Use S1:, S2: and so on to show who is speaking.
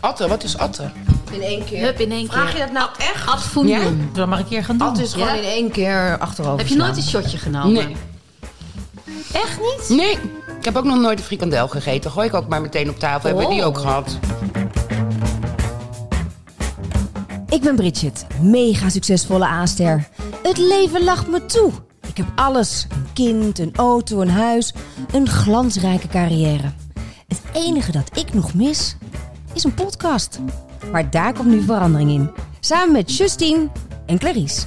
S1: atten? Wat is atten?
S2: In één keer.
S3: Hup, in één
S2: Vraag
S3: keer.
S2: je dat nou echt?
S3: Advoenium.
S4: Zullen we maar een keer gaan doen?
S2: Dat is
S3: Ja.
S2: gewoon in één keer achterover
S3: Heb je
S2: slaan.
S3: nooit een shotje genomen?
S1: Nee.
S3: Echt niet?
S1: Nee, ik heb ook nog nooit een frikandel gegeten. Gooi ik ook maar meteen op tafel. Hebben we die
S3: Oh.
S1: ook gehad?
S5: Ik ben Bridget, mega succesvolle aanster. Het leven lacht me toe. Ik heb alles: een kind, een auto, een huis, een glansrijke carrière. Het enige dat ik nog mis is een podcast. Maar daar komt nu verandering in. Samen met Justine en Clarice.